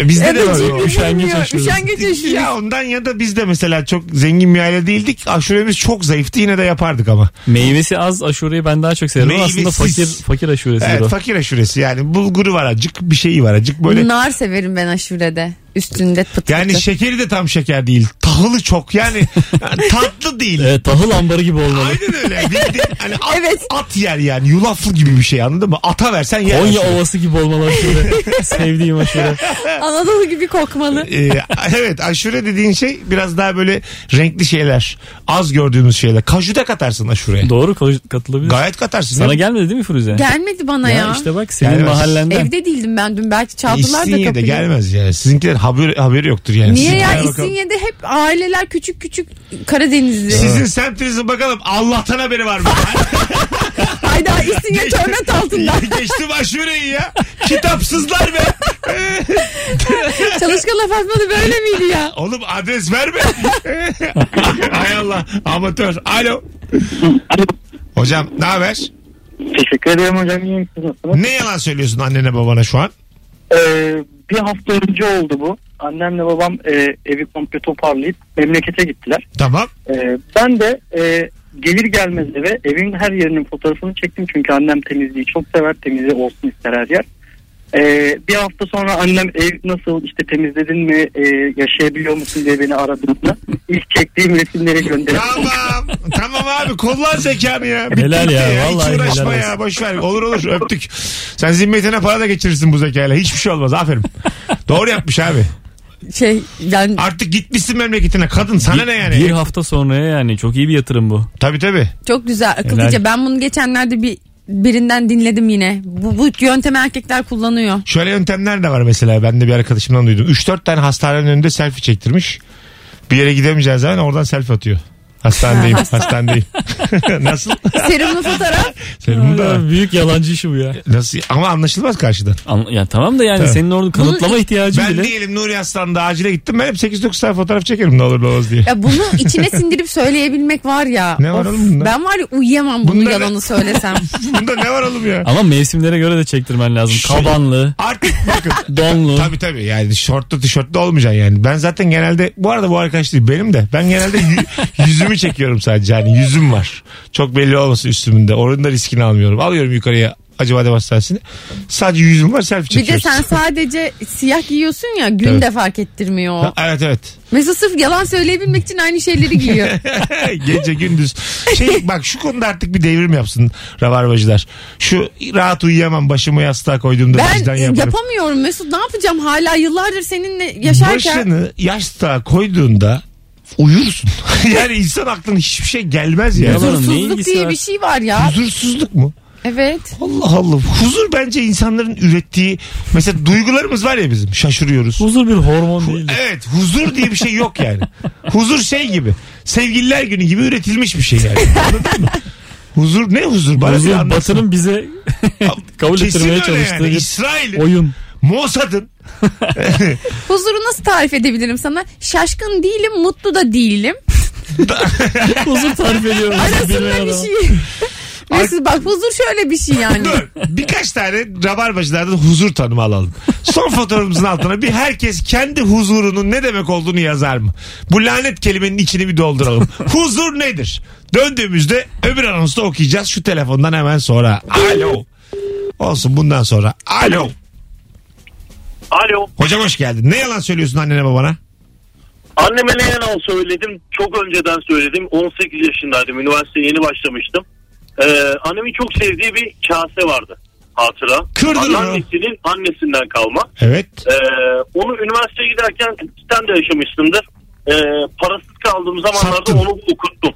Bizde
Ya
de
da
var o.
cimri
üşengeç
bilmiyor,
aşure.
Üşengeç
şey
aşure.
Ya ondan ya da biz de mesela çok zengin bir aile değildik. Aşuremiz çok zayıftı yine de yapardık ama.
Meyvesi az aşureyi ben daha çok severim. ama Aslında fakir
Meyvesiz.
fakir aşuresidir
Evet
o.
fakir aşuresi yani bulguru var acık bir şeyi var acık böyle.
Nar severim ben aşurede. Üstünde pıt pıtı.
Yani şekeri de tam şeker değil. Tahılı çok yani tatlı değil.
Evet, tahıl ambarı gibi olmalı.
Aynen öyle. Bildiğin hani at,
Evet.
at yer yani. Yulaflı gibi bir şey anladın mı? Ata versen yer.
Konya
aşure.
ovası gibi olmalı aşure. Sevdiğim aşure.
Anadolu gibi kokmalı.
Ee, evet aşure dediğin şey biraz daha böyle renkli şeyler. Az gördüğümüz şeyler. Kaju da katarsın aşureye.
Doğru ko- katılabilir.
Gayet katarsın.
Sana
Ya.
gelmedi değil mi Firuze?
Gelmedi bana ya.
Ya işte bak senin
Gelmez.
mahallenden.
Evde değildim ben dün. Belki çaldılar da
İstinye'de
kapıyı.
gelmez yani. Sizinkiler haberi, haberi yoktur yani.
Niye ya
Sizinkiler bakalım.
İstinye'de hep aileler küçük küçük Karadenizli.
Sizin semtinizin bakalım Allah'tan haberi var mı?
Hayda İstinye tornat altında.
Geçtim aşureyi ya. Kitapsızlar be.
Çalışkan laf atmadı böyle miydi ya?
Oğlum adres verme. Hay Allah amatör. Alo. Hocam ne haber?
Teşekkür ederim hocam. İyi misiniz? Nasılsınız?
Ne yalan söylüyorsun annene babana şu an?
Ee, bir hafta önce oldu bu. Annemle babam e, evi komple toparlayıp memlekete gittiler.
Tamam.
Ee, ben de e, gelir gelmez eve evin her yerinin fotoğrafını çektim. Çünkü annem temizliği çok sever. Temizliği olsun ister her yer. Ee, bir hafta sonra annem ev nasıl işte temizledin mi e, yaşayabiliyor musun diye beni aradığında ilk çektiğim resimleri gönderdim.
Tamam. tamam abi kullan zekanı ya. Bitti
Helal
gitti
ya,
Hiç
vallahi
uğraşma
helal
ya.
olsun.
Boş ver. Olur olur öptük. Sen zimmetine para da geçirirsin bu zekayla. Hiçbir şey olmaz. Aferin. Doğru yapmış abi.
Şey ben
Artık gitmişsin memleketine. Kadın sana ne yani?
Bir hafta sonraya yani çok iyi bir yatırım bu.
Tabii tabii.
çok güzel akıllıca.
Helal.
Ben bunu geçenlerde bir birinden dinledim yine. Bu, bu yöntemi erkekler kullanıyor.
Şöyle yöntemler de var mesela. Ben de bir arkadaşımdan duydum. 3-4 tane hastanenin önünde selfie çektirmiş. Bir yere gidemeyeceği zaman oradan selfie atıyor. Hastanedeyim, hastanedeyim. Nasıl?
Serumlu fotoğraf.
Senin bu da-
Ya büyük yalancı işi bu ya.
Nasıl? Ama anlaşılmaz karşıdan.
Ama- ya tamam da yani
Tabii.
senin orada kanıtlama ihtiyacın
Ben
bile.
diyelim Nuri Aslan'da acile gittim. Ben hep 8-9 tane fotoğraf çekerim ne olur ne olmaz diye.
Ya bunu içine sindirip söyleyebilmek var ya.
Ne var oğlum bunda?
Ben var ya uyuyamam bunu
Bunda ne-
yalanı söylesem.
Bunda ne var oğlum ya?
Ama mevsimlere göre de çektirmen lazım.
Şu-
Kabanlı,
Artık bakın.
donlu.
Tabii tabii yani şortlu tişörtlü olmayacaksın yani. Ben zaten genelde bu arada bu arkadaş değil benim de. Ben genelde yü- yüzümü çekiyorum sadece yani yüzüm var. Çok belli olmasın üstümünde. Oranın da riskini almıyorum. Alıyorum yukarıya Acıbadem Hastanesi'ne. Sadece yüzüm var selfie
bir de
çekiyoruz.
sen sadece siyah giyiyorsun ya gün
Evet.
de fark ettirmiyor.
Ha, Evet evet.
Mesut sırf yalan söyleyebilmek için aynı şeyleri giyiyor.
Gece gündüz. Şey bak şu konuda artık bir devrim yapsın ravarbacılar. Şu rahat uyuyamam başımı yastığa koyduğumda vicdan
ben
yaparım.
yapamıyorum Mesut ne yapacağım hala yıllardır seninle yaşarken.
Başını yastığa koyduğunda uyursun. yani insan aklına hiçbir şey gelmez ya.
Yalan. Neyin
Huzursuzluk
ilgisi
diye
var?
bir şey var ya.
Huzursuzluk mu?
Evet.
Allah Allah. Huzur bence insanların ürettiği mesela duygularımız var ya bizim. Şaşırıyoruz.
Huzur bir hormon değil.
Evet huzur diye bir şey yok yani. huzur şey gibi. Sevgililer günü gibi üretilmiş bir şey yani. Anladın mı? Huzur ne huzur? Bana bir
Huzur
anlatsın.
Batı'nın bize kabul
Kesin
ettirmeye
öyle
çalıştığı
Yani.
bir
İsrail'in,
oyun.
Mossad'ın
Huzuru nasıl tarif edebilirim sana? Şaşkın değilim mutlu da değilim.
Huzur tarif ediyorum.
Arasında bir şey. Mesut bak huzur şöyle bir şey yani.
Dur. Birkaç tane rabarbacılardan huzur tanımı alalım. Son fotoğrafımızın altına bir herkes kendi huzurunun ne demek olduğunu yazar mı? Bu lanet kelimenin içini bir dolduralım. huzur nedir? Döndüğümüzde öbür anonsu da okuyacağız. Şu telefondan hemen sonra. Alo. Olsun bundan sonra. Alo.
Alo.
Hocam hoş geldin. Ne yalan söylüyorsun annene babana?
Anneme ne yalan söyledim. Çok önceden söyledim. 18 yaşındaydım. Üniversiteye yeni başlamıştım. Ee, annemin çok sevdiği bir kase vardı. Hatıra.
Kırdın onu.
Anneannesinin annesinden kalma.
Evet.
Ee, onu üniversiteye giderken sen de yaşamışsındır. Ee, parasız kaldığım zamanlarda
Sattın.
onu okuttum.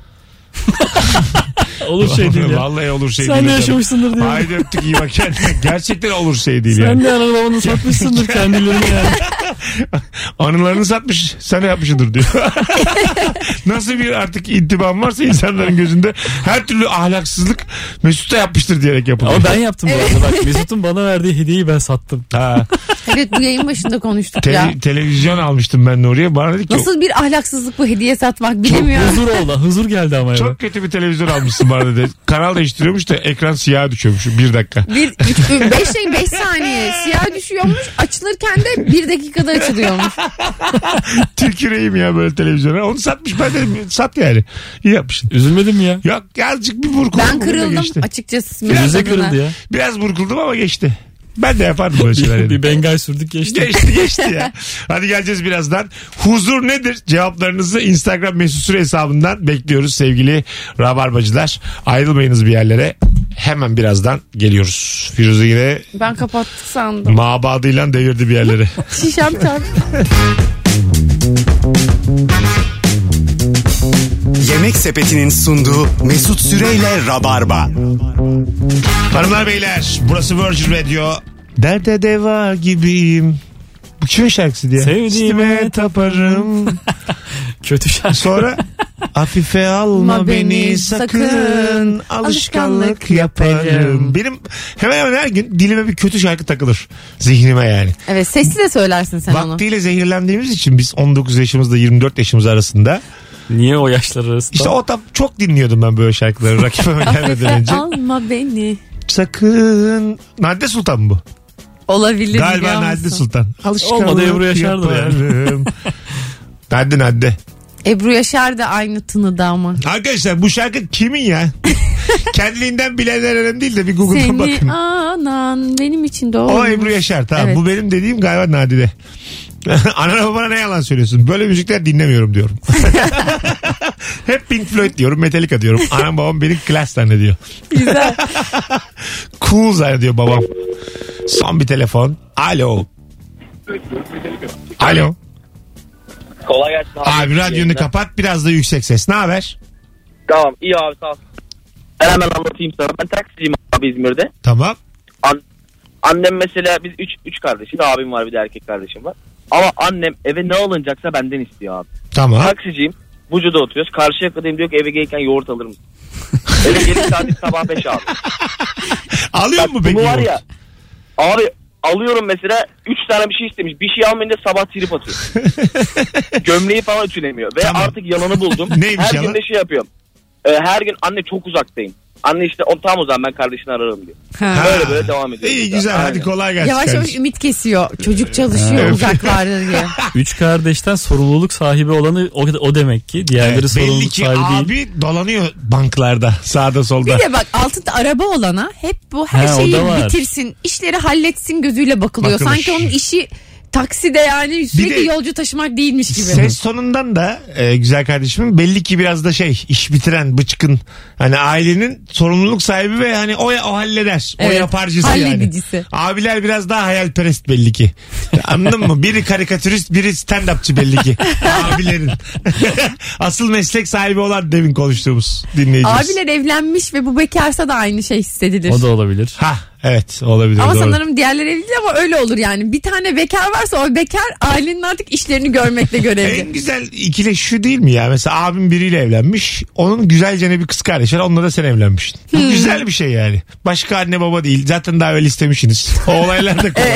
Olur şey değil ya.
Vallahi olur şey
Sen
değil.
de
hocam.
yaşamışsındır diyor.
Haydi öptük iyi bak kendine. Gerçekten olur şey değil yani.
Sen de ananı babanı satmışsındır kendilerini yani.
Anılarını satmış sana yapmışındır diyor. Nasıl bir artık intibam varsa insanların gözünde her türlü ahlaksızlık Mesut da yapmıştır diyerek yapılıyor.
Ama ben yaptım bu arada. Bak Mesut'un bana verdiği hediyeyi ben sattım.
Ha,
Evet bu yayın başında konuştuk
tele-
ya.
televizyon almıştım ben Nuriye. Bana dedi ki
Nasıl bir ahlaksızlık bu hediye satmak
Çok
bilemiyorum.
huzur oldu. Huzur geldi ama ya.
çok kötü bir televizyon almışsın bana dedi. Kanal değiştiriyormuş da ekran siyah düşüyormuş bir dakika.
Bir, üç, üç, beş şey, beş saniye siyah düşüyormuş. Açılırken de bir dakikada açılıyormuş.
Tüküreyim ya böyle televizyona. Onu satmış ben dedim sat yani. İyi yapmışsın.
Üzülmedim mi ya.
Yok azıcık bir burkuldum.
Ben
bugün de
kırıldım
geçti.
açıkçası.
Yüze
Mesut'una.
kırıldı ya.
Biraz burkuldum ama geçti. Ben de yapardım böyle şeyler.
Bir,
yani.
bir bengal sürdük geçti.
Geçti geçti ya. Hadi geleceğiz birazdan. Huzur nedir? Cevaplarınızı Instagram mesut süre hesabından bekliyoruz sevgili rabarbacılar. Ayrılmayınız bir yerlere. Hemen birazdan geliyoruz. Firuze yine
Ben kapattık sandım.
mabadıyla devirdi bir yerlere.
Şişem çarptı.
Yemek Sepeti'nin sunduğu Mesut Süreyle Rabarba.
Hanımlar beyler burası Virgin Radio. Derde deva gibiyim. Bu kimin şarkısı diye?
Sevdiğime
Üstüme taparım.
Kötü şarkı.
Sonra hafife
Ma
alma
beni
beni
sakın.
sakın alışkanlık
Alışkanlık
yaparım.
yaparım.
Benim hemen hemen her gün dilime bir kötü şarkı takılır. Zihnime yani.
Evet sesli de söylersin sen onu.
Vaktiyle zehirlendiğimiz için biz 19 yaşımızda 24 yaşımız arasında.
Niye o yaşlar arasında?
İşte o tam çok dinliyordum ben böyle şarkıları rakibime gelmeden önce.
Alma beni.
Sakın. Nadide Sultan mı bu?
Olabilir biliyor
Galiba
musun?
Nadide Sultan. Alışkanlık
Olmadı Ebru Yaşar'dır yani.
yaparım. Nadide Nadide.
Ebru Yaşar da aynı tınıda ama.
Arkadaşlar bu şarkı kimin ya? Kendiliğinden bilenler önemli değil de bir Google'dan
Seni
bakın.
anan benim için doğru.
O Ebru Yaşar tamam
Evet.
bu benim dediğim galiba Nadide. Anana babana ne yalan söylüyorsun? Böyle müzikler dinlemiyorum diyorum. Hep Pink Floyd diyorum, Metallica diyorum. Anam babam beni klas zannediyor.
Güzel.
Cool zannediyor babam. Son bir telefon. Alo. Alo.
Kolay gelsin
Abi radyonu kapat biraz da yüksek ses. Ne haber?
Tamam iyi abi sağ ol. Ben hemen anlatayım sana. Ben taksiciyim abi İzmir'de.
Tamam.
An- annem mesela biz üç, üç kardeşiz. Abim var bir de erkek kardeşim var. Ama annem eve ne alınacaksa benden istiyor abi.
Tamam.
Taksiciyim. Bucu'da oturuyoruz. Karşı yakadayım diyor ki eve gelirken yoğurt alır mısın? eve gelip saat sabah 5 abi.
Alıyor mu peki?
Bunu var ya.
yoğurt?
Abi alıyorum mesela 3 tane bir şey istemiş. Bir şey almayınca sabah trip atıyor. Gömleği falan ütülemiyor. Ve
Tamam.
artık yalanı buldum.
Neymiş
her
yalan?
gün de şey yapıyorum. Ee, her gün anne çok uzaktayım. Anne işte o, tam o zaman ben kardeşini ararım diyor.
Ha.
Böyle böyle devam ediyor.
İyi güzel
Aynen.
hadi kolay gelsin.
Yavaş yavaş
kardeşim.
ümit kesiyor. Çocuk çalışıyor
Evet.
uzaklarda diye.
Üç kardeşten sorumluluk sahibi olanı o, o demek ki. Diğerleri
Evet, belli
sorumluluk
ki
sahibi
abi
değil.
dolanıyor banklarda sağda solda.
Bir de bak altında araba olana hep bu her
Ha, o
şeyi
da var.
bitirsin, işleri halletsin gözüyle bakılıyor.
Bakılır.
Sanki onun işi takside yani sürekli
de-
yolcu taşımak değilmiş gibi.
Ses sonundan da e, güzel kardeşimin belli ki biraz da şey iş bitiren bıçkın hani ailenin sorumluluk sahibi ve hani o, o halleder o
Evet,
yaparcısı
halledicisi.
yani. Abiler biraz daha hayalperest belli ki. Anladın mı? Biri karikatürist biri stand upçı belli ki. Abilerin. Asıl meslek sahibi olan demin konuştuğumuz dinleyicimiz.
Abiler evlenmiş ve bu bekarsa da aynı şey hissedilir.
O da olabilir.
Ha evet olabilir
Ama
doğru.
sanırım diğerleri evli değil ama öyle olur yani. Bir tane bekar varsa o bekar ailenin artık işlerini görmekle görevli.
En güzel ikili şu değil mi ya? Mesela abim biriyle evlenmiş. Onun güzelcene bir kız kardeşi var. Onunla da sen evlenmişsin. Bu
Hmm.
güzel bir şey yani. Başka anne baba değil. Zaten daha evvel istemişsiniz. O olaylar da kolay.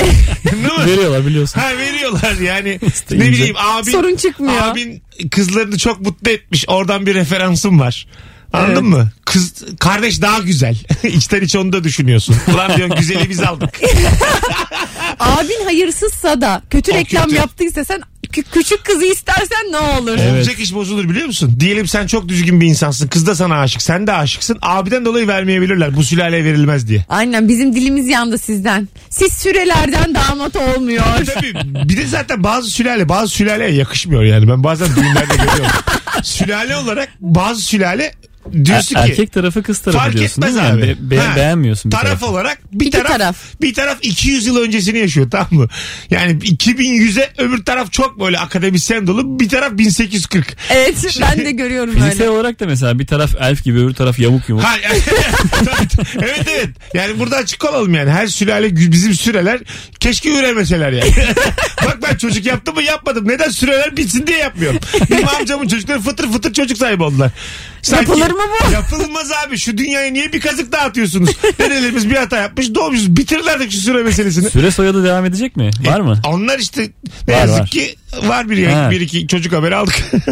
değil mi?
Veriyorlar biliyorsun.
Ha veriyorlar yani ne
İsteyince.
bileyim abin,
Sorun çıkmıyor.
abin kızlarını çok mutlu etmiş oradan bir referansım var Anladın mı? Kız kardeş daha güzel. İçten içe onu da düşünüyorsun. Ulan diyorsun güzeli biz aldık.
Abin hayırsızsa da kötü
O
reklam
kötü.
yaptıysa sen kü- küçük kızı istersen ne olur?
Olacak iş bozulur biliyor musun? Diyelim sen çok düzgün bir insansın. Kız da sana aşık. Sen de aşıksın. Abiden dolayı vermeyebilirler. Bu sülaleye verilmez diye.
Aynen bizim dilimiz yandı sizden. Siz sürelerden damat olmuyor.
Tabii bir de zaten bazı sülale bazı sülaleye yakışmıyor yani. Ben bazen düğünlerde görüyorum. sülale olarak bazı sülale diyorsun ki
Er-, Erkek tarafı kız tarafı
fark
diyorsun
etmez
değil mi?
abi.
Yani be- be-
Ha,
beğenmiyorsun bir
taraf
tarafı.
olarak bir
İki
taraf,
taraf.
bir taraf 200 yıl öncesini yaşıyor tamam mı? Yani 2100'e öbür taraf çok böyle akademisyen dolu bir taraf 1840.
Evet ben de görüyorum
Fiziksel
öyle.
olarak da mesela bir taraf elf gibi öbür taraf yamuk yumuk.
Ha, yani- evet evet. Yani burada açık olalım yani. Her sülale gü- bizim süreler keşke üremeseler yani. Bak ben çocuk yaptım mı yapmadım. Neden süreler bitsin diye yapmıyorum. Benim amcamın çocukları fıtır fıtır çocuk sahibi oldular.
Yapılır mı bu?
Yapılmaz abi. Şu dünyaya niye bir kazık daha atıyorsunuz? Dedelerimiz bir hata yapmış. Doğmuşuz. Bitirler de şu süre meselesini.
Süre soyadı devam edecek mi?
E,
Var mı?
Onlar işte ne
Var,
yazık
var.
ki var bir,
Ha.
bir iki çocuk haberi aldık.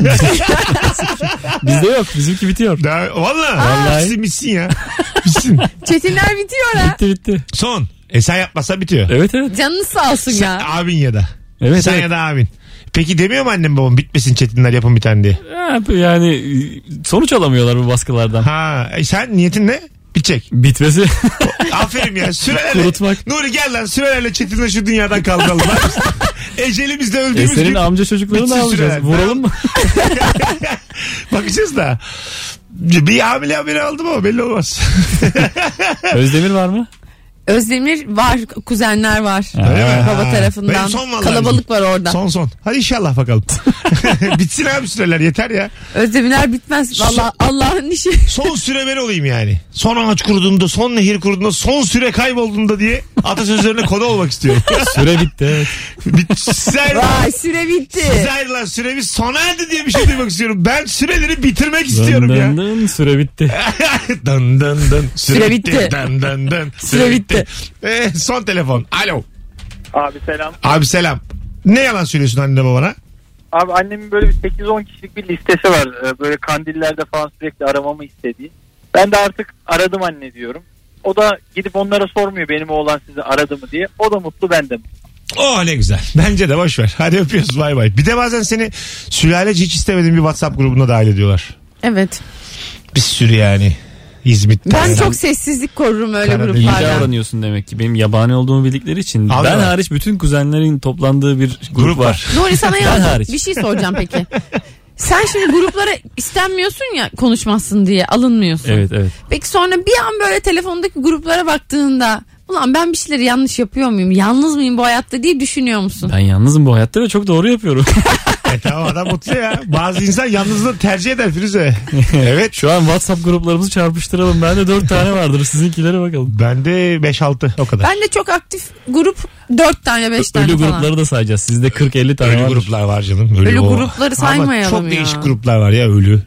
Bizde yok. Bizimki bitiyor.
Daha, vallahi.
Vallahi.
Bitsin bitsin ya. Bitsin.
Çetinler bitiyor ha.
Bitti bitti.
Son. E sen yapmasa bitiyor.
Evet evet.
Canınız sağ olsun ya.
Abin ya da.
Evet,
Sen
evet.
ya da abin. Peki demiyor mu annem babam bitmesin çetinler yapın bir tane diye.
Ha, Yani sonuç alamıyorlar bu baskılardan.
Ha e sen niyetin ne? Bitecek.
Bitmesi.
Aferin ya sürelerle.
Kurutmak.
Nuri gel lan sürelerle çetinle şu dünyadan kaldıralım. Lan biz- Ecelimizde
e,
öldüğümüz
senin
gün
amca çocuklarını
Bitsin
ne
süreler.
yapacağız? Vuralım mı?
bakacağız da. Bir hamile haberi aldım ama belli olmaz.
Özdemir var mı?
Özdemir var, kuzenler var.
Öyle mi?
Baba
Ha. Benim
tarafından.
son vallahi
Kalabalık var orada.
son son. Hadi inşallah bakalım. Bitsin abi süreler yeter ya.
Özdemirler bitmez. Vallahi Allah'ın işi.
Son süre ben olayım yani. Son ağaç kuruduğumda, son nehir kuruduğumda, son süre kaybolduğumda diye atasözlerine konu olmak istiyorum.
Süre bitti. evet.
Bitsen
Vay süre bitti.
Size ayrılan süremiz sona erdi diye bir şey duymak istiyorum. Ben süreleri bitirmek istiyorum
Dın
ya.
dın dın, süre bitti.
dın dın dın.
Süre bitti.
Dın dın dın.
Süre bitti.
Ee, son telefon. Alo.
Abi selam.
Abi selam. Ne yalan söylüyorsun anne babana?
Abi annemin böyle bir 8-10 kişilik bir listesi var. Ee, Böyle kandillerde falan sürekli aramamı istediği. Ben de artık aradım anne diyorum. O da gidip onlara sormuyor benim oğlan sizi aradı mı diye. O da mutlu ben de. mutlu.
Oh ne güzel. Bence de boş ver. Hadi öpüyoruz bay bay. Bir de bazen seni sülaleci hiç istemediğin bir WhatsApp grubuna dahil ediyorlar.
Evet.
Bir sürü yani. İzmit'te.
Ben çok sessizlik korurum öyle
Karadeniz.
İyi
gruplardan.
davranıyorsun demek ki. Benim yabani olduğumu bildikleri için.
Abi
ben
var.
hariç bütün kuzenlerin toplandığı bir grup,
Grup var.
var.
Nuri sana
Ben
yalnız
hariç.
bir şey soracağım peki. Sen şimdi gruplara istenmiyorsun ya konuşmazsın diye alınmıyorsun.
Evet evet.
Peki sonra bir an böyle telefondaki gruplara baktığında ulan ben bir şeyleri yanlış yapıyor muyum? Yalnız mıyım bu hayatta diye düşünüyor musun?
Ben yalnızım bu hayatta ve çok doğru yapıyorum.
E tamam adam mutlu ya. Bazı insan yalnızlığı tercih eder Firuze. evet.
Şu an WhatsApp gruplarımızı çarpıştıralım. Bende dört tane vardır. Sizinkilere bakalım.
Bende 5-6 o kadar.
Ben de çok aktif grup 4 tane 5 tane
Ölü
falan.
grupları da sayacağız. Sizde 40-50 tane
Ölü
vardır.
gruplar var canım. Ölü,
Ölü
o.
grupları saymayalım
Ama çok
ya.
değişik gruplar var ya ölü.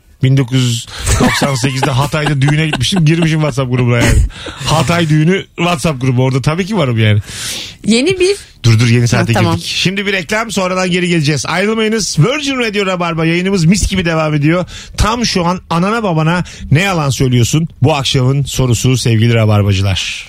1998'de Hatay'da düğüne gitmiştim. Girmişim WhatsApp grubuna yani. Hatay düğünü WhatsApp grubu orada tabii ki varım yani.
Yeni bir
Dur dur yeni saate
Ha, tamam.
girdik. Şimdi bir reklam sonradan geri geleceğiz. Ayrılmayınız. Virgin Radio Rabarba yayınımız mis gibi devam ediyor. Tam şu an anana babana ne yalan söylüyorsun? Bu akşamın sorusu sevgili Rabarbacılar.